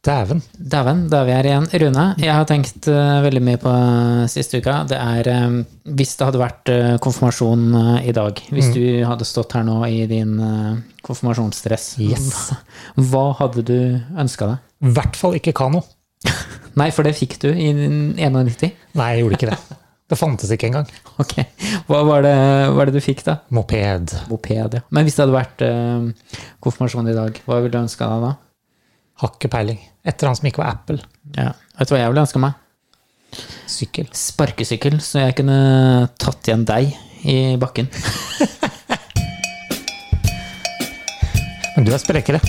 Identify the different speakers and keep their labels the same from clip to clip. Speaker 1: Dæven.
Speaker 2: Dæven, da er vi her igjen. Rune, jeg har tenkt eh, veldig mye på eh, siste uka. Det er eh, hvis det hadde vært eh, konfirmasjon eh, i dag, hvis du hadde stått her nå i din eh, konfirmasjonsdress,
Speaker 1: Yes.
Speaker 2: hva hadde du ønska deg?
Speaker 1: I hvert fall ikke kano.
Speaker 2: Nei, for det fikk du i din 91.
Speaker 1: Nei, jeg gjorde ikke det. Det fantes ikke engang.
Speaker 2: Ok, hva var det, hva er det du fikk da?
Speaker 1: Moped.
Speaker 2: Moped, ja. Men hvis det hadde vært eh, konfirmasjon i dag, hva ville du ønska deg da?
Speaker 1: Har ikke peiling. Et eller annet som ikke var Apple.
Speaker 2: Ja. Vet du hva jeg ville ønska meg?
Speaker 1: Sykkel.
Speaker 2: sparkesykkel, så jeg kunne tatt igjen deg i bakken.
Speaker 1: Men du er sprekere.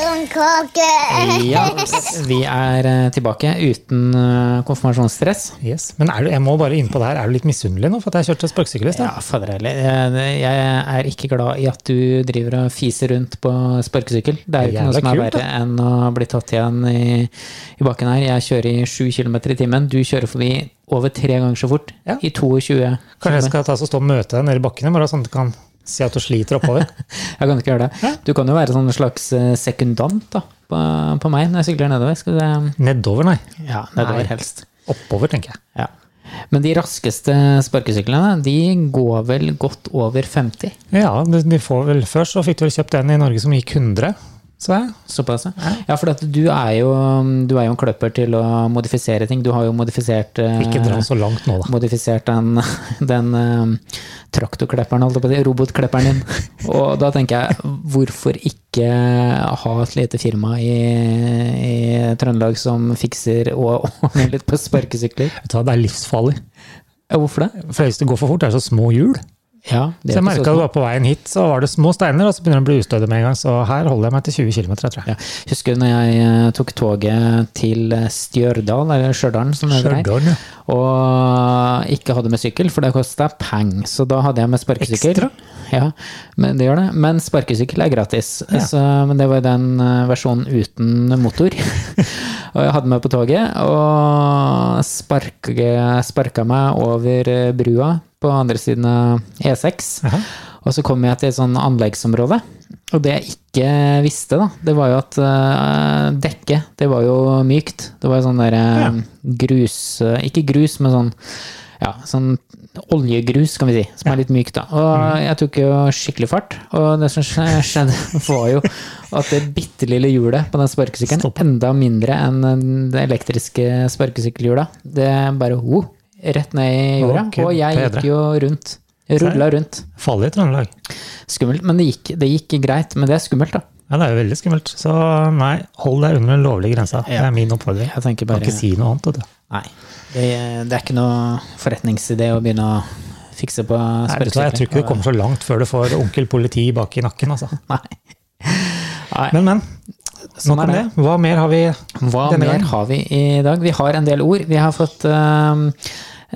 Speaker 3: Blomkake.
Speaker 2: Ja, vi er eh, tilbake uten eh, konfirmasjonsstress.
Speaker 1: Yes. Men er du, jeg må bare inn på det her. Er du litt misunnelig nå for at jeg kjørte sparkesykkel i
Speaker 2: Ja,
Speaker 1: sted?
Speaker 2: fader heller. Eh, Jeg er ikke glad i at du driver og fiser rundt på sparkesykkel. Det er jo
Speaker 1: Det
Speaker 2: ikke
Speaker 1: er
Speaker 2: noe som er
Speaker 1: jævla kult,
Speaker 2: verre enn å bli tatt igjen i, i bakken her. Jeg kjører i 7 km i timen. Du kjører forbi over tre ganger så fort.
Speaker 1: Ja.
Speaker 2: I 22
Speaker 1: Kanskje jeg skal ta så stå og møte deg nede i bakkene, bare sånn at du kan si at du sliter oppover.
Speaker 2: Jeg kan ikke gjøre det. Du kan jo være sånn slags eh, sekundant da, på, på meg når jeg sykler nedover. Skal du se.
Speaker 1: Nedover, nei.
Speaker 2: Ja, nedover
Speaker 1: Nei.
Speaker 2: helst.
Speaker 1: Oppover, tenker jeg.
Speaker 2: Ja. Men de raskeste sparkesyklene, de går vel godt over 50?
Speaker 1: Ja, de de får vel Før så fikk du vel kjøpt en i Norge som gikk 100, så jeg.
Speaker 2: Såpass, ja. Ja, for at du er jo, du er jo en kløpper til å modifisere ting. Du har jo modifisert eh,
Speaker 1: Ikke dra så langt nå, da.
Speaker 2: Modifisert den, den eh, traktorklipperen, holdt jeg på å si, robotklipperen din. Og da tenker jeg, hvorfor ikke ha et lite firma i, i Trøndelag som fikser og ordner litt på sparkesykler?
Speaker 1: Vet du hva, det er livsfarlig.
Speaker 2: Ja, Hvorfor det?
Speaker 1: For hvis det går for fort, det er så små hjul.
Speaker 2: Ja, det
Speaker 1: Så jeg
Speaker 2: er ikke
Speaker 1: merka
Speaker 2: så
Speaker 1: det var på veien hit, så var det små steiner, og så begynner det å bli ustødig med en gang. Så her holder jeg meg til 20 km, tror jeg.
Speaker 2: Ja. Husker du når jeg eh, tok toget til eh, Stjørdal, eller Stjørdalen som det heter her,
Speaker 1: Stjørdal, ja.
Speaker 2: og ikke hadde med sykkel, for det kosta peng. Så da hadde jeg med sparkesykkel.
Speaker 1: Ekstra?
Speaker 2: Ja, men det gjør det. Men sparkesykkel er gratis. Så, men det var jo den eh, versjonen uten motor. og jeg hadde med på toget, og sparke, sparka meg over eh, brua på andre siden av E6.
Speaker 1: Jaha.
Speaker 2: Og så kom jeg til et sånn anleggsområde. Og det jeg ikke visste, da, det var jo at eh, dekket, det var jo mykt. Det var jo sånn der eh, grus eh, Ikke grus, men sånn ja, sånn oljegrus, kan vi si, som er litt mykt, da.
Speaker 1: Mm.
Speaker 2: Og jeg tok jo skikkelig fart, og det som skje- skjedde, var jo at det bitte lille hjulet på den sparkesykkelen,
Speaker 1: Stopp.
Speaker 2: enda mindre enn det elektriske sparkesykkelhjulet, det bare ho, rett ned i jorda.
Speaker 1: Å, Gud
Speaker 2: Og jeg
Speaker 1: bedre.
Speaker 2: gikk jo rundt. Rulla rundt.
Speaker 1: Farlig i Trøndelag.
Speaker 2: Skummelt, men det gikk, det gikk greit. Men det er skummelt, da.
Speaker 1: Ja, det er jo veldig skummelt. Så nei, hold deg under den lovlige grensa. Det er min oppfordring.
Speaker 2: Jeg tenker
Speaker 1: Kan
Speaker 2: bare
Speaker 1: ikke si noe annet, vet du.
Speaker 2: Nei. Det, det er ikke noe forretningsidé å begynne å fikse på
Speaker 1: Nei, vet du hva, jeg tror ikke du kommer så langt før du får onkel politi bak i nakken, altså.
Speaker 2: Nei. Nei.
Speaker 1: Men, men.
Speaker 2: Sånn
Speaker 1: Nok
Speaker 2: er
Speaker 1: om det.
Speaker 2: det.
Speaker 1: Hva mer har vi
Speaker 2: Hva
Speaker 1: denne
Speaker 2: mer
Speaker 1: gangen?
Speaker 2: har vi i dag? Vi har en del ord. Vi har fått øhm,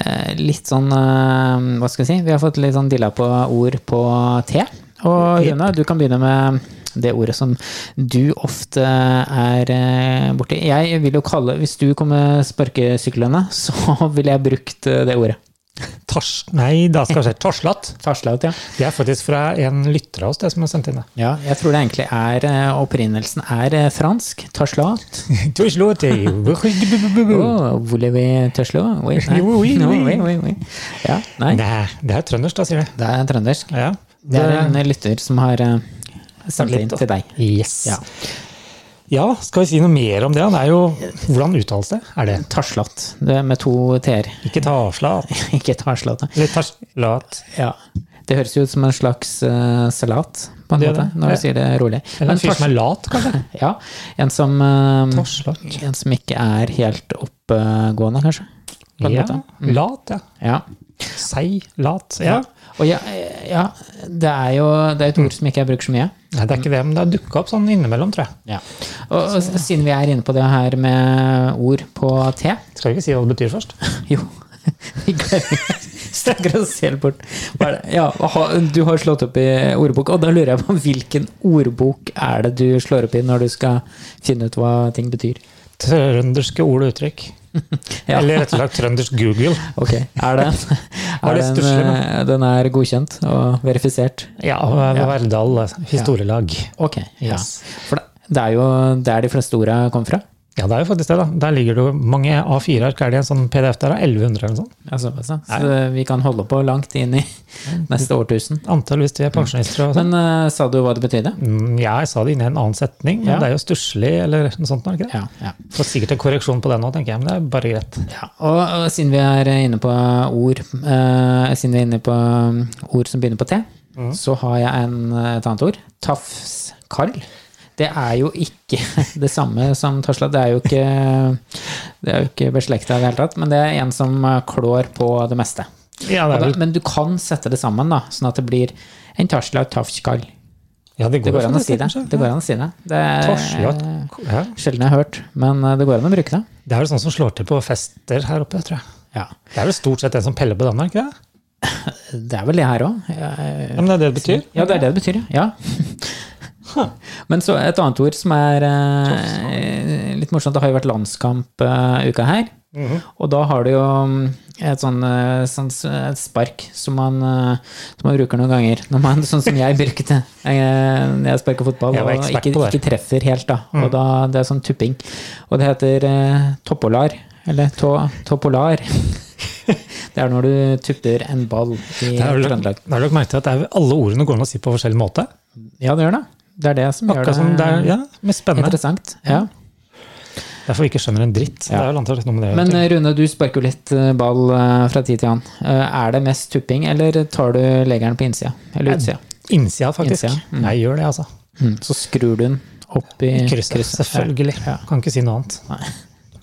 Speaker 2: eh, litt sånn øhm, Hva skal jeg si? Vi har fått litt sånn dilla på ord på te. Og Rune, du kan begynne med det ordet som du ofte er eh, borti. Jeg vil jo kalle Hvis du kom med sparkesyklene, så ville jeg brukt eh, det ordet.
Speaker 1: Tors... Nei, da skal jeg si torslatt.
Speaker 2: Tarslaut, ja.
Speaker 1: Det er faktisk fra en lytter av oss, det som har sendt inn det.
Speaker 2: Ja, jeg tror det egentlig er eh, Opprinnelsen er eh, fransk. Tarslat.
Speaker 1: Torslatt, eh,
Speaker 2: Oh, voulez-vous tørslo? Oui, nei.
Speaker 1: Jo, oui,
Speaker 2: No,
Speaker 1: oui.
Speaker 2: oui, oui, oui. Ja, nei.
Speaker 1: Nei, det er trøndersk, da, sier jeg.
Speaker 2: Det er trøndersk.
Speaker 1: Ja.
Speaker 2: Det er en lytter som har eh, sendt inn
Speaker 1: Litt, da.
Speaker 2: til deg.
Speaker 1: Yes.
Speaker 2: Ja.
Speaker 1: Ja. skal vi si noe mer om det? Det er jo Hvordan uttales det? Er det
Speaker 2: Tarslatt, det er med to t-er.
Speaker 1: ikke taslat?
Speaker 2: Ikke tarslatt.
Speaker 1: Eller taslat?
Speaker 2: Ja. Det høres jo ut som en slags eh, salat, på en
Speaker 1: Det er
Speaker 2: måte,
Speaker 1: det.
Speaker 2: når
Speaker 1: Ja.
Speaker 2: du sier det rolig.
Speaker 1: Eller
Speaker 2: Men
Speaker 1: en fyr som
Speaker 2: tors-
Speaker 1: er lat, kanskje?
Speaker 2: ja, en som, eh,
Speaker 1: Taslat?
Speaker 2: en som ikke er helt oppegående, kanskje. På en
Speaker 1: Ja.
Speaker 2: måte.
Speaker 1: Lat, ja.
Speaker 2: Ja.
Speaker 1: Seig, lat. Ja.
Speaker 2: Og ja, ja, det er jo det er et ord som ikke jeg bruker så mye.
Speaker 1: Nei, det er ikke det, men det har dukka opp sånn innimellom, tror jeg.
Speaker 2: Ja. Og, og s- siden vi er inne på det her med ord på te
Speaker 1: Skal vi ikke si hva det betyr først?
Speaker 2: Jo, vi glemmer Snakker oss helt bort. Hva er det? Ja, ha- du har slått opp i ordbok, og da lurer jeg på hvilken ordbok er det du slår opp i når du skal finne ut hva ting betyr?
Speaker 1: Trønderske ord og uttrykk.
Speaker 2: Ja,
Speaker 1: Eller rett og slett trøndersk Google.
Speaker 2: ok. Er det,
Speaker 1: Hva er det
Speaker 2: den,
Speaker 1: stusslig med?
Speaker 2: eh, den er godkjent og verifisert.
Speaker 1: Ja, og Verdal eh, historielag.
Speaker 2: Ok, ja.
Speaker 1: Yes.
Speaker 2: For det- det er jo der de fleste orda kommer fra.
Speaker 1: Ja, det er jo faktisk det, da. Der ligger det jo mange A4-ark. Er det en sånn PDF der? da? 1100 eller noe sånt?
Speaker 2: Altså, altså, så vi kan holde på langt inn i neste årtusen.
Speaker 1: Antall hvis vi er pensjonister og sånn.
Speaker 2: Men eh, sa du hva det betydde?
Speaker 1: Mm, Ja, jeg sa det inni en annen setning, men
Speaker 2: Ja.
Speaker 1: det er jo stusslig eller noe sånt. er det ikke det?
Speaker 2: Ja, ja.
Speaker 1: Får sikkert en korreksjon på det nå, tenker jeg, men det er bare greit.
Speaker 2: Ja, og, og siden vi er inne på ord, eh, siden vi er inne på um, ord som begynner på T, så har jeg en, et annet ord. Tafskarl. Det er jo ikke det samme som Tasla. Det er jo ikke, det er jo ikke beslekta i det hele tatt, men det er en som eh, klår på det meste.
Speaker 1: Ja,
Speaker 2: Og
Speaker 1: det, er
Speaker 2: da,
Speaker 1: vel,
Speaker 2: men du kan sette det sammen, da, sånn at det blir en Tasla Tafskarl.
Speaker 1: ja, det
Speaker 2: Det går an å si det.
Speaker 1: kanskje.
Speaker 2: Det går an å si det. Det er
Speaker 1: Torsjakt.
Speaker 2: eh,
Speaker 1: Ja.
Speaker 2: sjelden jeg har hørt, men eh, det går an å bruke det.
Speaker 1: Det er vel sånn som slår til på fester her oppe, tror jeg.
Speaker 2: Ja.
Speaker 1: Det er vel stort sett den som peller på Danmark, ikke det?
Speaker 2: Det er vel det her òg.
Speaker 1: Ja, men det er det det betyr.
Speaker 2: Ja, det er det det betyr, ja. ja. Men så et annet ord som er eh, litt morsomt. Det har jo vært landskamp eh, uka her.
Speaker 1: Mhm.
Speaker 2: Og da har du jo mm, et sånn, eh, sånn s- et spark som man, eh, som man bruker noen ganger. Når man, sånn som jeg bruker det eh, når jeg sparker fotball
Speaker 1: Jeg var
Speaker 2: og
Speaker 1: ekspert
Speaker 2: ikke,
Speaker 1: på det. Mm.
Speaker 2: ikke treffer helt. da. Og da, Det er sånn tupping. Og det heter eh, toppolar. Eller tå, toppolar. Det er når du tupper en ball i
Speaker 1: Det er vel-
Speaker 2: Trøndelag.
Speaker 1: Da har dere merket at det er vel alle ordene går an å si på forskjellig måte.
Speaker 2: Ja, det gjør det. Det er det som gjør det,
Speaker 1: Akkurat som det er, ja, men spennende.
Speaker 2: interessant. Ja.
Speaker 1: Derfor vi ikke skjønner en dritt. Det
Speaker 2: Ja.
Speaker 1: er vel antageligvis noe med det. å
Speaker 2: Men
Speaker 1: gjøre.
Speaker 2: eh, Rune, du sparker jo litt eh, ball eh, fra tid til annen. Eh, Er det mest tupping, eller tar du legeren på innsida? Eller eh, utsida?
Speaker 1: Innsida, faktisk.
Speaker 2: Innsida,
Speaker 1: Jeg gjør det, altså.
Speaker 2: Mm. Så skrur du den opp i
Speaker 1: Krysset, selvfølgelig. Kan ikke si noe annet.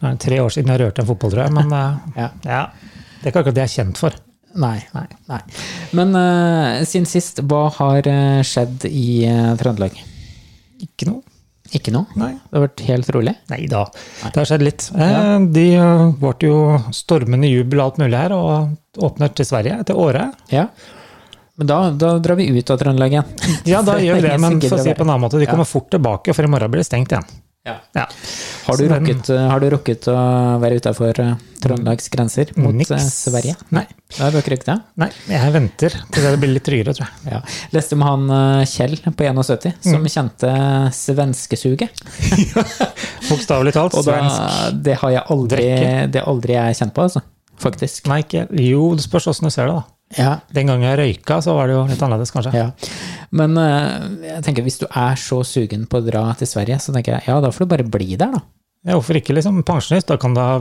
Speaker 1: Det er tre år siden jeg rørte en fotball, tror jeg, men eh,
Speaker 2: Ja.
Speaker 1: ja, det er ikke akkurat det jeg er kjent for.
Speaker 2: Nei. nei, nei. Men eh, siden sist, hva har eh, skjedd i eh, Trøndelag?
Speaker 1: Ikke noe.
Speaker 2: Ikke noe?
Speaker 1: Nei.
Speaker 2: Det har vært helt rolig?
Speaker 1: Nei da. Det har skjedd litt. Eh, De eh, ble jo stormende jubel og alt mulig her, og åpner til Sverige, til Åre.
Speaker 2: Ja. Men da, da drar vi ut av Trøndelag igjen.
Speaker 1: Ja, da
Speaker 2: For
Speaker 1: gjør vi det,
Speaker 2: ingen som
Speaker 1: men
Speaker 2: gidder
Speaker 1: for å
Speaker 2: å
Speaker 1: si
Speaker 2: være.
Speaker 1: det på en annen måte, de kommer fort tilbake, for i morgen blir det stengt igjen.
Speaker 2: Ja.
Speaker 1: Ja.
Speaker 2: Har
Speaker 1: Så
Speaker 2: du,
Speaker 1: den-
Speaker 2: rukket, har du rukket å være utafor Trøndelags grenser mot
Speaker 1: Niks.
Speaker 2: eh, Sverige?
Speaker 1: Nei.
Speaker 2: Nei, du har ikke rukket det?
Speaker 1: Nei, jeg venter til det blir litt tryggere, tror jeg.
Speaker 2: Ja. Mm. Leste om han eh, Kjell på 71 som kjente eh, svenskesuget.
Speaker 1: Bokstavelig talt.
Speaker 2: Og da,
Speaker 1: Svensk.
Speaker 2: det har jeg aldri,
Speaker 1: Drikke.
Speaker 2: det har aldri jeg kjent på, altså. Faktisk.
Speaker 1: Nei, ikke Jo, det spørs åssen du ser det, da.
Speaker 2: Ja,
Speaker 1: Den gangen jeg røyka, så var det jo litt annerledes, kanskje.
Speaker 2: ja. Men eh, jeg tenker hvis du er så sugen på å dra til Sverige, så tenker jeg ja, da får du bare bli der, da.
Speaker 1: Ja, hvorfor ikke liksom pensjonist? Da kan du ha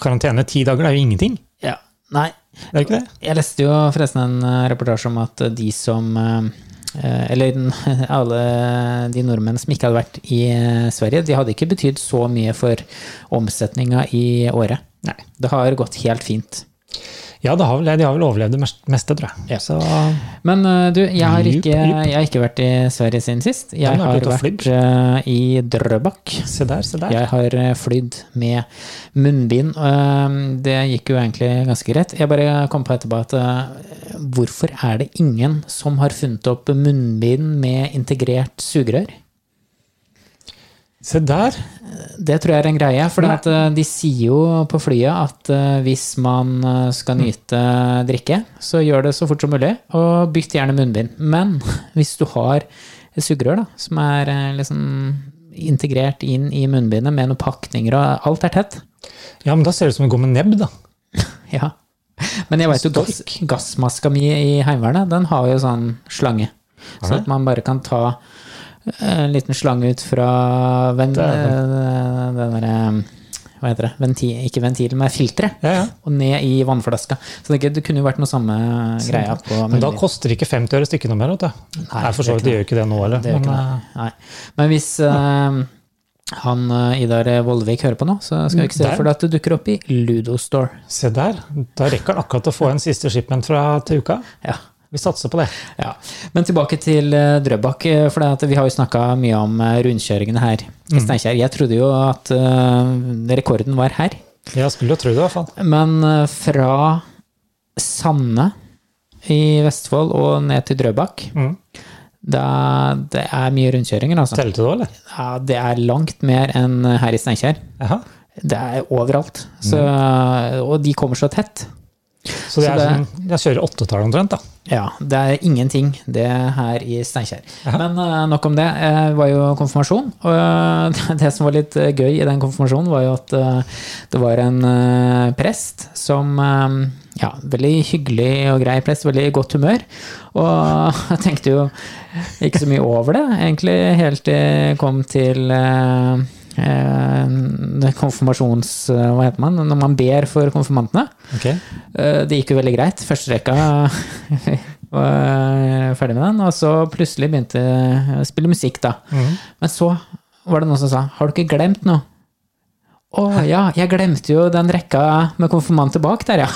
Speaker 1: karantene ti dager, det er jo ingenting.
Speaker 2: Ja. Nei,
Speaker 1: Det er jo ikke det?
Speaker 2: Jeg leste jo forresten en eh, reportasje om at de som eh, eh, Eller den- alle de nordmenn som ikke hadde vært i eh, Sverige, de hadde ikke betydd så mye for omsetninga i året.
Speaker 1: Nei.
Speaker 2: Det har gått helt fint.
Speaker 1: Ja, det har vel, det. de har vel overlevd det mest- meste, tror jeg.
Speaker 2: Ja.
Speaker 1: Så
Speaker 2: Men eh, du, jeg har,
Speaker 1: Jupp,
Speaker 2: ikke,
Speaker 1: jupp.
Speaker 2: jeg har ikke vært i Sverige siden sist.
Speaker 1: men
Speaker 2: Jeg
Speaker 1: du har
Speaker 2: har
Speaker 1: vært ute og
Speaker 2: vært eh, i Drøbak.
Speaker 1: se der, se der.
Speaker 2: Jeg har eh, flydd med munnbind. og, eh, Det gikk jo egentlig ganske greit. Jeg bare kom på etterpå at eh, hvorfor er det ingen som har funnet opp munnbind med integrert sugerør?
Speaker 1: Se der.
Speaker 2: Det tror jeg er en greie, for at eh, de sier jo på flyet at eh, hvis man eh, skal nyte drikke, så gjør det så fort som mulig, og bytt gjerne munnbind. Men hvis du har et sugerør da, som er eh, liksom integrert inn i munnbindet med noen pakninger og alt er tett,
Speaker 1: Ja, men da ser det ut som det går med nebb, da.
Speaker 2: Ja. Men jeg veit jo gass, gassmaska mi i Heimevernet, den har jo sånn slange. Så at man bare kan ta eh, en liten slange ut fra ven, eh, den derre Hva heter det? Ventil, ikke ventil, men filteret.
Speaker 1: Ja, ja.
Speaker 2: Og ned i vannflaska. Så det, det kunne jo vært noe samme greia på
Speaker 1: Men da
Speaker 2: munnbind.
Speaker 1: koster det ikke 50 øre stykket noe mer, vet du. Nei, for så vidt, de gjør jo ikke det nå heller.
Speaker 2: Det gjør ikke
Speaker 1: Men,
Speaker 2: det. Nei. Men hvis eh, han eh, Idar Vollevik hører på nå, så skal vi ikke se
Speaker 1: Der.
Speaker 2: for deg at det dukker opp i Ludo Store.
Speaker 1: eh, se der. Da rekker han akkurat å få en siste shipment fra til uka.
Speaker 2: Ja.
Speaker 1: Vi satser på det.
Speaker 2: Ja. Men tilbake til eh, Drøbak, eh, for det at vi har jo snakka mye om eh, rundkjøringene her i Steinkjer. Jeg trodde jo at eh, rekorden var her,
Speaker 1: Jeg skulle jo tro det, i hvert fall.
Speaker 2: men eh, fra Sande i Vestfold og ned til Drøbak
Speaker 1: Mm.
Speaker 2: da, Det er mye rundkjøringer, altså.
Speaker 1: Telte du òg, eller?
Speaker 2: Ja, det er langt mer enn her i Steinkjer.
Speaker 1: Jaha.
Speaker 2: Det er overalt. Så, og de kommer så tett.
Speaker 1: Så det
Speaker 2: Så
Speaker 1: er
Speaker 2: det-
Speaker 1: sånn, jeg kjører åttetall omtrent, da.
Speaker 2: Ja, det er ingenting det her i Steinkjer.
Speaker 1: Ja.
Speaker 2: Men eh, nok om det. Det var jo konfirmasjon. Og eh, det som var litt eh, gøy i den konfirmasjonen, var jo at eh, det var en eh, prest som eh, Ja, veldig hyggelig og grei prest, veldig i godt humør. Og jeg tenkte jo ikke så mye over det, egentlig, helt til jeg kom til eh, eh, konfirmasjons... eh, Hva heter man? Når man ber for konfirmantene.
Speaker 1: Ok.
Speaker 2: Eh, Det gikk jo veldig greit. Første rekka var eh, ferdig med den, og så plutselig begynte jeg å spille musikk, da.
Speaker 1: Mhm.
Speaker 2: Men så var det noen som sa 'Har du ikke glemt noe?' Å ja, jeg glemte jo den rekka med konfirmant tilbake der, ja.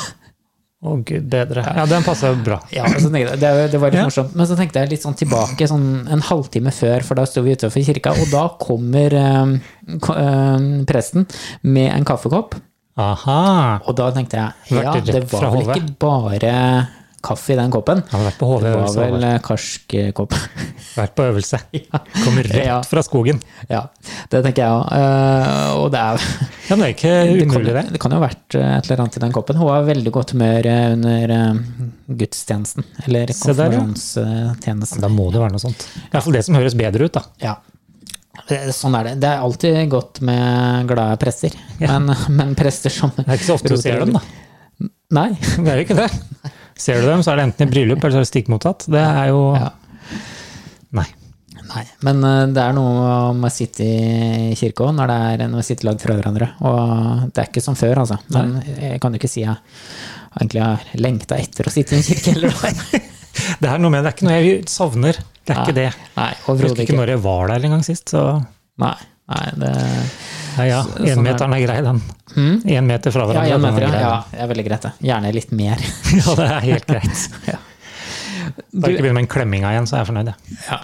Speaker 1: Å, gud bedre. Ja, den passer jo bra.
Speaker 2: ja så tenkte jeg, det, er jo- det var litt
Speaker 1: Ja.
Speaker 2: morsomt. Men så tenkte jeg litt sånn tilbake, sånn en halvtime før, for da sto vi utenfor kirka, og da kommer eh, ko- eh, presten med en kaffekopp.
Speaker 1: Aha.
Speaker 2: Og da tenkte jeg ja,
Speaker 1: Vært rett
Speaker 2: det var
Speaker 1: fra
Speaker 2: vel
Speaker 1: hodet.
Speaker 2: ikke bare kaffe i den koppen.
Speaker 1: Jeg har vært på HV
Speaker 2: Det var
Speaker 1: øvelse.
Speaker 2: vel
Speaker 1: Håvard.
Speaker 2: eh, karsk eh, kopp.
Speaker 1: Vært på øvelse.
Speaker 2: Ja.
Speaker 1: Kommer
Speaker 2: Ja.
Speaker 1: rett fra skogen.
Speaker 2: ja, det tenker jeg òg. og det er
Speaker 1: Ja, men det er ikke
Speaker 2: det kan,
Speaker 1: umulig, det.
Speaker 2: det kan jo ha vært eh, et eller annet i den koppen. Hun var i veldig godt humør eh, under eh, gudstjenesten, eller
Speaker 1: Se der, ja.
Speaker 2: konfirmasjonstjenesten.
Speaker 1: Da må det være noe sånt. I hvert fall det som høres bedre ut, da.
Speaker 2: Ja. Eh, Sånn er det. Det er alltid godt med glade prester,
Speaker 1: Ja.
Speaker 2: men, men prester som
Speaker 1: Det er ikke så ofte du ser dem, da.
Speaker 2: Nei.
Speaker 1: Det er jo ikke det. Ser du dem, så er det enten i bryllup eller så er det stikk mottatt. Det er jo
Speaker 2: Ja.
Speaker 1: Nei.
Speaker 2: Nei, men eh, det er noe med å sitte i kirke òg, når det er når vi sitter lagd fra hverandre. Og det er ikke som før, altså. Men jeg kan jo ikke si jeg egentlig har lengta etter å sitte i en kirke heller. da.
Speaker 1: Det er noe med det. er ikke noe jeg savner. Det er ikke det.
Speaker 2: Nei,
Speaker 1: Jeg husker
Speaker 2: overhodet
Speaker 1: ikke
Speaker 2: ikke.
Speaker 1: når jeg var der engang sist, så
Speaker 2: Nei, nei, det
Speaker 1: Nei, ja.
Speaker 2: Så- sånn er
Speaker 1: Énmeteren er grei, den.
Speaker 2: Hmm?
Speaker 1: Én meter fra
Speaker 2: Ja,
Speaker 1: hverandre.
Speaker 2: én
Speaker 1: den er
Speaker 2: meter,
Speaker 1: grei,
Speaker 2: ja. ja. Det er veldig greit, det. Gjerne litt mer.
Speaker 1: den. ja, det er helt greit.
Speaker 2: Ja.
Speaker 1: Bare ikke begynn med den klemminga igjen, så er jeg fornøyd. jeg.
Speaker 2: Ja.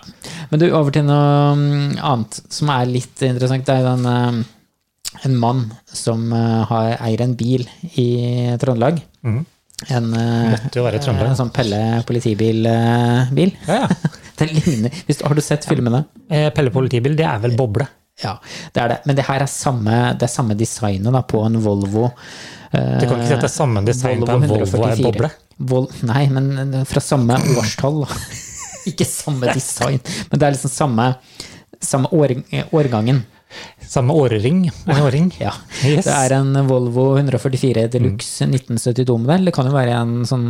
Speaker 2: Men du, over til noe mm, annet som er litt interessant. Det er jo en, eh, en mann som eh, har, eier en bil i Trøndelag.
Speaker 1: Mhm.
Speaker 2: En, eh,
Speaker 1: Måtte jo være i Trøndelag.
Speaker 2: En sånn Pelle politibil-bil.
Speaker 1: Ja, ja.
Speaker 2: Den ligner hvis, du- Har du sett filmene?
Speaker 1: Eh, Pelle politibil, det er vel boble.
Speaker 2: Ja, det er det. Men det her er samme, det er samme designet da, på en Volvo.
Speaker 1: Du kan ikke si at det er samme
Speaker 2: Eh,
Speaker 1: design på en Volvo er boble.
Speaker 2: Vol nei, men eh, fra samme årstall. da. ikke samme design, men det er liksom samme, samme år, årgangen.
Speaker 1: Samme årring. En årring.
Speaker 2: Ja.
Speaker 1: Yes. Mm.
Speaker 2: Det er en Volvo 144 Deluxe 1972-modell. Det kan jo være en sånn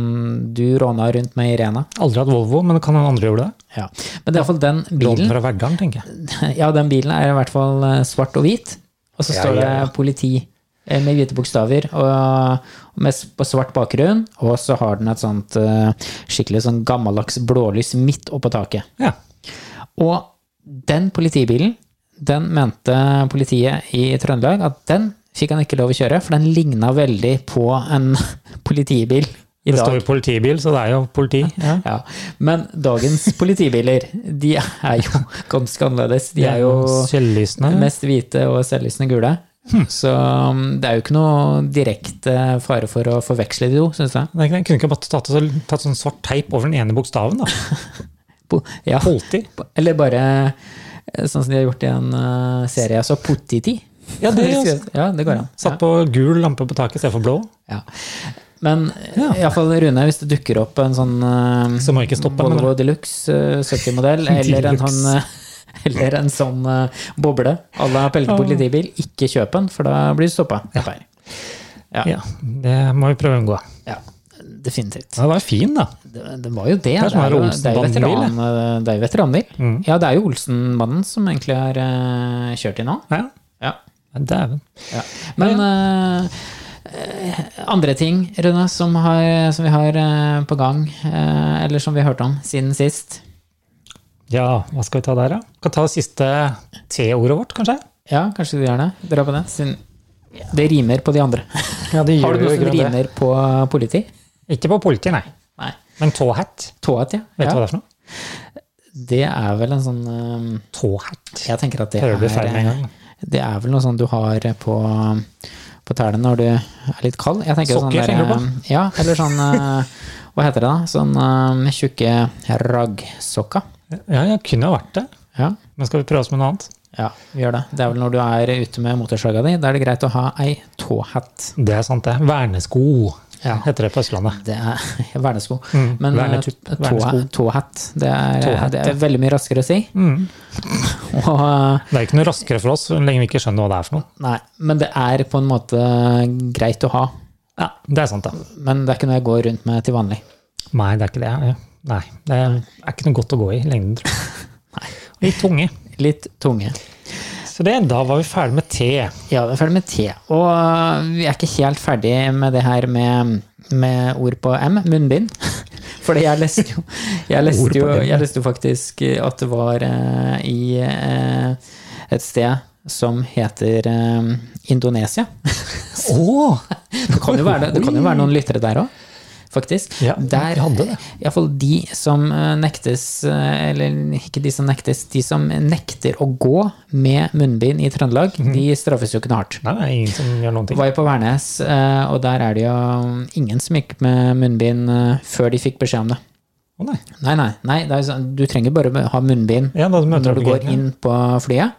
Speaker 2: du råna rundt med Irena.
Speaker 1: Aldri hatt Volvo, men kan noen andre gjøre det?
Speaker 2: Ja. Men det er iallfall den
Speaker 1: Lånt
Speaker 2: bilen.
Speaker 1: fra Verdalen, tenker jeg.
Speaker 2: Ja, den bilen er i hvert fall eh, svart og hvit. Og så
Speaker 1: Ja,
Speaker 2: står
Speaker 1: ja, ja.
Speaker 2: det politi eh, med hvite bokstaver og med, s- på svart bakgrunn. Og så har den et sånt eh, skikkelig sånn gammeldags blålys midt oppå taket.
Speaker 1: Ja.
Speaker 2: Og den politibilen, den mente politiet i Trøndelag at den fikk han ikke lov å kjøre, for den ligna veldig på en politibil
Speaker 1: Det
Speaker 2: i dag.
Speaker 1: står jo politibil, så det er jo politi. Ja.
Speaker 2: Ja. Men dagens politibiler, de er jo ganske annerledes. De er jo
Speaker 1: Selvlysende.
Speaker 2: mest hvite og selvlysende gule.
Speaker 1: Hm.
Speaker 2: Så um, det er jo ikke noe direkte fare for å forveksle de to, syns jeg.
Speaker 1: Nei, Jeg kunne ikke bare tatt, tatt sånn svart teip over den ene bokstaven, da.
Speaker 2: Po- Ja.
Speaker 1: Politi.
Speaker 2: Eller bare eh, sånn som de har gjort i en eh, serie jeg så, Pottiti.
Speaker 1: Ja, det er jo-
Speaker 2: ja, det går an.
Speaker 1: Satt på gul lampe på taket istedenfor blå.
Speaker 2: Ja. Men eh,
Speaker 1: Ja.
Speaker 2: i alle fall, Rune, hvis det dukker opp en sånn eh,
Speaker 1: Så må jeg ikke stoppe, men-
Speaker 2: Volvo Deluxe eh, 70-modell, eller en sånn eh, eller en sånn eh, boble à la Pelle politibil, ikke kjøp den, for da blir du stoppa. Ja.
Speaker 1: Ja, Det må vi prøve å unngå.
Speaker 2: Ja, definitivt.
Speaker 1: Ja, det var fin, da.
Speaker 2: Det, det var jo det. Det
Speaker 1: er
Speaker 2: er,
Speaker 1: som å være
Speaker 2: jo- det er jo
Speaker 1: Olsenbanden-bil,
Speaker 2: veteran, det er jo veteranbil.
Speaker 1: Mm.
Speaker 2: Ja, det er jo Olsenmannen som egentlig har eh, kjørt inn nå.
Speaker 1: Ja,
Speaker 2: Ja.
Speaker 1: ja, Dæven.
Speaker 2: Ja. Men eh, eh, andre ting, Rune, som, har, som vi har eh, på gang, eh, eller som vi har hørt om siden sist.
Speaker 1: Ja, hva skal vi ta der, da? Kan ta siste T-ordet vårt, kanskje?
Speaker 2: Ja, kanskje du gjør det? Dra på det. Siden det rimer på de andre.
Speaker 1: Ja, det
Speaker 2: Har du noe som rimer på politi?
Speaker 1: Ikke på politi, nei.
Speaker 2: Nei.
Speaker 1: Men tåhatt.
Speaker 2: Tåat, ja.
Speaker 1: Vet du
Speaker 2: ja.
Speaker 1: hva det er for noe?
Speaker 2: Det er vel en sånn eh,
Speaker 1: Tåhatt.
Speaker 2: Jeg tenker at det
Speaker 1: Hører du feil med en
Speaker 2: er
Speaker 1: gang?
Speaker 2: Det er vel noe sånn du har på, på tærne når du er litt kald. Jeg tenker sånn
Speaker 1: Sokker,
Speaker 2: der,
Speaker 1: tenker du
Speaker 2: Ja, eller sånn eh, Hva heter det, da? Sånn eh, tjukke raggsokker.
Speaker 1: Ja, jeg kunne ha vært det.
Speaker 2: Ja,
Speaker 1: Men skal vi prøve oss med noe annet?
Speaker 2: ja, vi gjør det. Det er vel når du er ute med motorsaga di, da er det greit å ha ei tåhatt.
Speaker 1: Det er sant, det. Vernesko.
Speaker 2: Ja.
Speaker 1: heter det på Østlandet.
Speaker 2: Det er vernesko.
Speaker 1: Mm,
Speaker 2: Men eh,
Speaker 1: vernetupp, vernesko.
Speaker 2: tå- tåhatt, det, er-
Speaker 1: Tåhatt,
Speaker 2: det
Speaker 1: ja.
Speaker 2: er veldig mye raskere å si.
Speaker 1: Mm.
Speaker 2: Og eh,
Speaker 1: Det er ikke noe raskere for oss så lenge vi ikke skjønner hva det er for noe.
Speaker 2: Nei, men det er på en måte greit å ha.
Speaker 1: Ja, Det er sant, da.
Speaker 2: Men det er ikke noe jeg går rundt med til vanlig.
Speaker 1: Nei, det er ikke det. Nei, Det er ikke noe godt å gå i i lengden, tror jeg. Litt tunge.
Speaker 2: Litt tunge.
Speaker 1: Så det, da var vi ferdig med te.
Speaker 2: Ja, vi er ferdig med T. Og øh, vi er ikke helt ferdig med det her med, med ord på M, munnbind. For jeg leste jo, jeg
Speaker 1: Ord
Speaker 2: leste
Speaker 1: på
Speaker 2: jo,
Speaker 1: M, ja.
Speaker 2: jeg leste jo faktisk at det var eh, i eh, et sted som heter eh, Indonesia.
Speaker 1: Oh,
Speaker 2: Det kan jo være, det kan jo være noen lyttere der òg, faktisk.
Speaker 1: Ja,
Speaker 2: der,
Speaker 1: vi hadde det.
Speaker 2: Iallfall de som eh, nektes eh, Eller ikke de som nektes, de som nekter å gå med munnbind i Trøndelag,
Speaker 1: Mhm.
Speaker 2: de straffes jo ikke noe hardt.
Speaker 1: Nei, det er ingen som gjør noen ting.
Speaker 2: Var jo på Værnes, eh, og der er det jo ingen som gikk med munnbind eh, før de fikk beskjed om det.
Speaker 1: Å nei.
Speaker 2: Nei, nei, nei det er jo sånn, du trenger bare ha munnbind
Speaker 1: Ja, da møter
Speaker 2: når du går
Speaker 1: gøy.
Speaker 2: inn på flyet.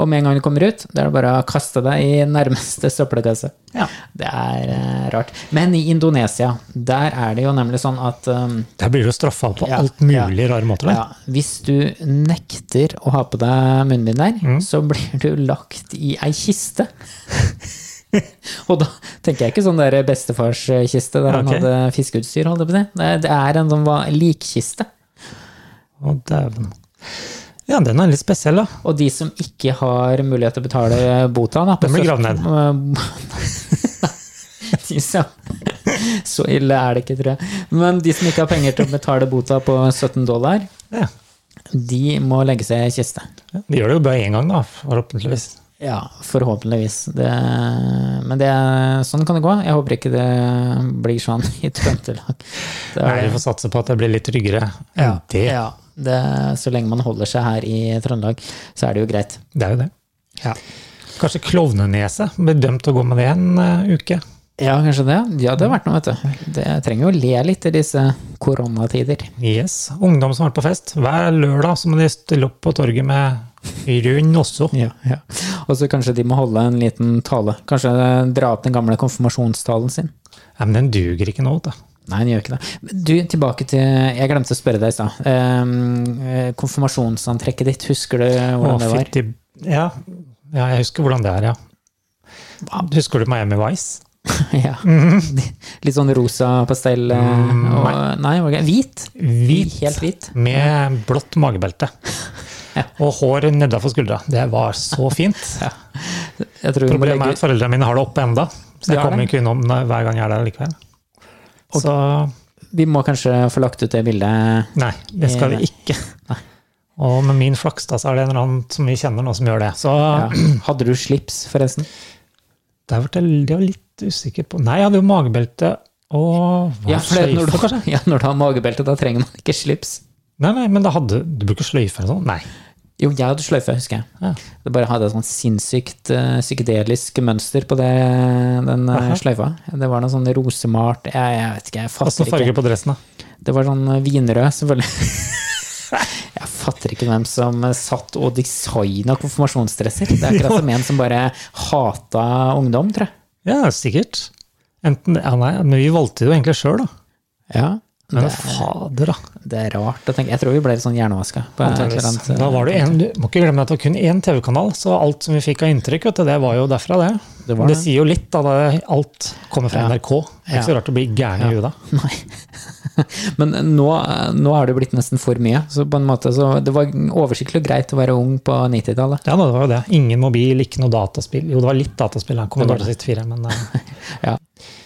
Speaker 2: Og med en gang du kommer ut, da er det bare å kaste deg i nærmeste søppelkasse.
Speaker 1: Ja.
Speaker 2: Det er eh, rart. Men i Indonesia, der er det jo nemlig sånn at um,
Speaker 1: Der blir du straffa på
Speaker 2: Ja,
Speaker 1: alt mulig rare måter. der.
Speaker 2: ja, hvis du nekter å ha på deg munnbind der, så blir du lagt i ei kiste. Og da tenker jeg ikke sånn der bestefarskiste der han
Speaker 1: Ok.
Speaker 2: hadde fiskeutstyr. Holdt jeg på å si. det, er- det er en sånn va- likkiste.
Speaker 1: Å, dæven. Ja, den er litt spesiell, da.
Speaker 2: Og de som ikke har mulighet til å betale bota da, på
Speaker 1: Den blir
Speaker 2: søk-
Speaker 1: gravd
Speaker 2: de som, så ille er det ikke, tror jeg. Men de som ikke har penger til å betale bota på 17 dollar,
Speaker 1: Ja.
Speaker 2: de må legge seg i kiste.
Speaker 1: De gjør det jo bare én gang, da, forhåpentligvis.
Speaker 2: Ja, forhåpentligvis. Det, men det, sånn kan det gå. Jeg håper ikke det blir sånn i Trøndelag. Det
Speaker 1: Nei, Vi får satse på at det blir litt tryggere enn det.
Speaker 2: ja, det, så lenge man holder seg her i Trøndelag, så er det jo greit.
Speaker 1: Det er jo det.
Speaker 2: Ja.
Speaker 1: Kanskje klovnenese ble dømt til å gå med det en eh, uke.
Speaker 2: Ja, kanskje det. Ja, det har vært noe, vet du. Det jeg trenger jo å le litt i disse koronatider.
Speaker 1: Yes. Ungdom som har vært på fest. Hver lørdag så må de stille opp på torget med rund også.
Speaker 2: Og så kanskje de må holde en liten tale. Kanskje eh, dra opp den gamle konfirmasjonstalen sin.
Speaker 1: Ja, men den duger ikke nå, da.
Speaker 2: Nei, den gjør ikke det. Men Du, tilbake til Jeg glemte å spørre deg i stad. Ehm, konfirmasjonsantrekket ditt, husker du hvordan
Speaker 1: Å,
Speaker 2: det var?
Speaker 1: fytti- Ja. ja, jeg husker hvordan det er, ja. Husker du Miami Vice?
Speaker 2: ja.
Speaker 1: Mhm.
Speaker 2: Litt sånn rosa pastell eh, og, Nei, var det ikke- hvit.
Speaker 1: Mm, Hvit.
Speaker 2: Helt hvit.
Speaker 1: Med blått magebelte. Og hår nedafor skuldra. Det var så fint.
Speaker 2: Jeg tror vi må
Speaker 1: Problemet er
Speaker 2: legge
Speaker 1: at foreldrene mine har det oppe enda, så
Speaker 2: De
Speaker 1: jeg
Speaker 2: har
Speaker 1: kommer ikke innom det hver gang jeg er der likevel. Så
Speaker 2: Vi må kanskje få lagt ut det bildet.
Speaker 1: nei, det skal vi ikke. Og med min flaks da, så er det en eller annen som vi kjenner nå som gjør det. Så
Speaker 2: Ja. Hadde du slips, forresten?
Speaker 1: det har vært det var litt usikker på. Nei, jeg hadde jo magebelte og hva,
Speaker 2: Ja, for det, når,
Speaker 1: sløyfe,
Speaker 2: du,
Speaker 1: kanskje?
Speaker 2: ja, når du har magebelte, da trenger man ikke slips.
Speaker 1: Nei, nei, men da hadde, du bruker sløyfe eller sånn? Nei.
Speaker 2: Jo, jeg hadde sløyfe, husker jeg.
Speaker 1: Ja.
Speaker 2: Det bare hadde et sånn sinnssykt eh, psykedelisk mønster på det, den eh,
Speaker 1: Aha.
Speaker 2: sløyfa. Det var noe sånn rosemalt jeg, jeg vet ikke, jeg
Speaker 1: Hva
Speaker 2: fatter
Speaker 1: farge
Speaker 2: ikke.
Speaker 1: på dressen da?
Speaker 2: Det var sånn vinrød, selvfølgelig. Jeg fatter ikke hvem som eh, satt og designa konfirmasjonsdresser. Det er akkurat som en som bare hata ungdom, tror jeg.
Speaker 1: Ja, sikkert. Enten, ja, nei, men vi valgte det jo egentlig sjøl, da.
Speaker 2: Ja,
Speaker 1: Men
Speaker 2: det,
Speaker 1: fader, da.
Speaker 2: det er rart å tenke. Jeg tror vi ble litt sånn hjernevaska. på et eller
Speaker 1: Antageligvis.
Speaker 2: annet- eh,
Speaker 1: Da var det jo en, du må ikke glemme at det var kun én TV-kanal, så alt som vi fikk av inntrykk, vet du, det var jo derfra, det.
Speaker 2: Det
Speaker 1: Det,
Speaker 2: var det.
Speaker 1: sier jo litt, da. Det, alt kommer fra
Speaker 2: Ja.
Speaker 1: NRK. Det er ikke så rart å bli gæren i huet da.
Speaker 2: Nei. Men nå, nå har det blitt nesten for mye. Så på en måte så Det var oversiktlig og greit å være ung på 90-tallet.
Speaker 1: Ja, da, det var jo det. Ingen mobil, ikke noe dataspill. Jo, det var litt dataspill, her, Commodore 64, men eh,
Speaker 2: Ja.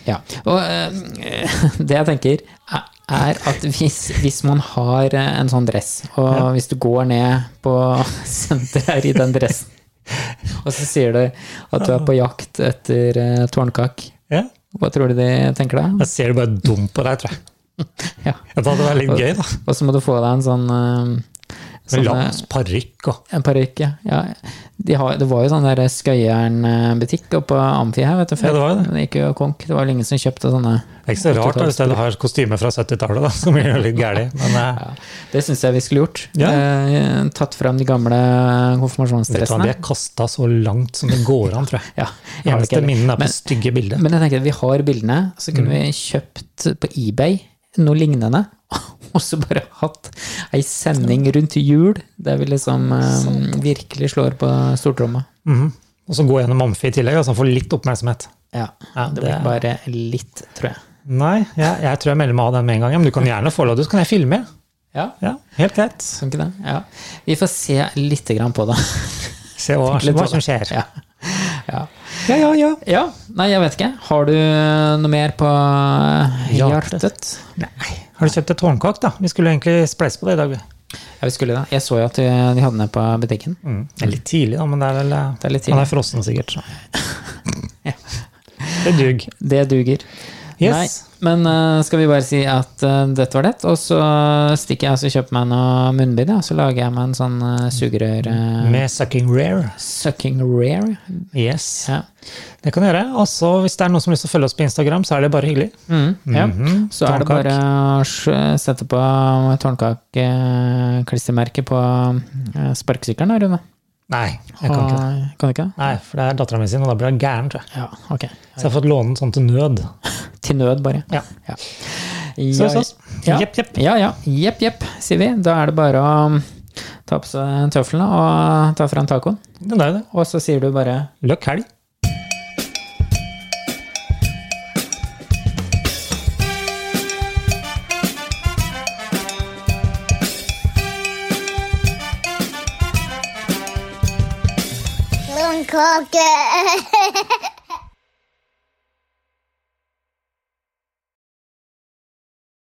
Speaker 2: ja. Og eh, det jeg tenker, er- er at hvis, hvis man har eh, en sånn dress, og hvis du går ned på senteret her i den dressen, og så sier du at du er på jakt etter eh, tårnkak,
Speaker 1: ja.
Speaker 2: hva tror du de tenker da?
Speaker 1: Jeg ser det bare dum på deg, tror jeg.
Speaker 2: Ja.
Speaker 1: Ja, Det hadde vært litt gøy, da.
Speaker 2: Og så må du få deg en sånn eh,
Speaker 1: Med
Speaker 2: Sånn,
Speaker 1: langs parykk og
Speaker 2: En parykk, ja. ja. De har, det var jo sånn der Skøyeren-butikk oppe på Amfi her, vet du.
Speaker 1: Ja, det var jo det.
Speaker 2: Men gikk jo konk. Det var jo ingen som kjøpte sånne.
Speaker 1: Det er ikke så rart da, hvis du har kostyme fra 70-tallet, da, som blir litt gærlig. Men eh,
Speaker 2: Det syns jeg vi skulle gjort.
Speaker 1: Ja.
Speaker 2: Eh, tatt fram de gamle
Speaker 1: vet du hva,
Speaker 2: konfirmasjonsdressene.
Speaker 1: de er kasta så langt som det går an, tror jeg.
Speaker 2: Ja, jeg har
Speaker 1: Eneste
Speaker 2: ikke-
Speaker 1: minnen er Mm. på
Speaker 2: Men-
Speaker 1: stygge bilder.
Speaker 2: Men jeg tenker at vi har bildene, så kunne vi kjøpt på eBay noe lignende. Og så bare hatt ei sending rundt jul der vi liksom eh, virkelig slår på stortromma.
Speaker 1: Mhm. Og så gå gjennom Amfi i tillegg, så han får litt oppmerksomhet.
Speaker 2: Ja,
Speaker 1: Ja,
Speaker 2: det
Speaker 1: det
Speaker 2: blir
Speaker 1: er-
Speaker 2: bare litt, tror jeg.
Speaker 1: Nei, jeg, jeg tror jeg melder meg av den med en gang. ja, Men du kan gjerne få lov, du, så kan jeg filme.
Speaker 2: Ja,
Speaker 1: Ja, helt greit.
Speaker 2: kan ikke det? Ja. Vi får se litt grann på det.
Speaker 1: Se hva,
Speaker 2: Litt
Speaker 1: hva
Speaker 2: på
Speaker 1: som
Speaker 2: det.
Speaker 1: skjer.
Speaker 2: Ja. Ja.
Speaker 1: Ja, ja, ja.
Speaker 2: ja. Nei, jeg vet ikke. Har du eh, noe mer på eh,
Speaker 1: Hjertet.
Speaker 2: hjertet?
Speaker 1: Nei. Har du kjøpt et tårnkakk, da? Vi skulle egentlig spleise på det i dag. vi.
Speaker 2: Ja, vi skulle det. Jeg så jo at de de hadde den på butikken.
Speaker 1: Det er litt tidlig, da, men Mm. det er vel eh,
Speaker 2: Det er litt tidlig.
Speaker 1: Han er frossen, sikkert. Så.
Speaker 2: Ja.
Speaker 1: Det dug.
Speaker 2: Det duger.
Speaker 1: Yes.
Speaker 2: Nei, men eh, skal vi bare si at eh, dette var det, og så stikker jeg og så kjøper meg noe munnbind, ja, og så lager jeg meg en sånn eh, sugerør eh,
Speaker 1: Med sucking rare.
Speaker 2: Sucking rare.
Speaker 1: Yes.
Speaker 2: Ja.
Speaker 1: Det kan du gjøre. Og så hvis det er noen som har lyst til å følge oss på Instagram, så er det bare hyggelig.
Speaker 2: Mm, ja.
Speaker 1: Mhm.
Speaker 2: Så er
Speaker 1: Tårnkakk.
Speaker 2: det bare å sj- sette på tårnkakeklistremerket på eh, sparkesykkelen, da, Rune.
Speaker 1: Nei, jeg kan ikke det.
Speaker 2: Og- Kan du ikke det?
Speaker 1: Nei, for det er dattera mi sin, og da blir hun gæren, tror jeg.
Speaker 2: Ja, ok.
Speaker 1: Så jeg har fått låne den sånn til nød.
Speaker 2: Til nød, bare.
Speaker 1: Ja.
Speaker 2: Ja,
Speaker 1: Så, så.
Speaker 2: Sånn, Ja.
Speaker 1: Jepp, jepp.
Speaker 2: Ja, ja. Jepp, jepp, sier vi. Da er det bare å ta på seg tøflene og ta fram tacoen.
Speaker 1: Det er jo det.
Speaker 2: Og så sier du bare
Speaker 1: Løkk helg.
Speaker 3: Lone Cocker.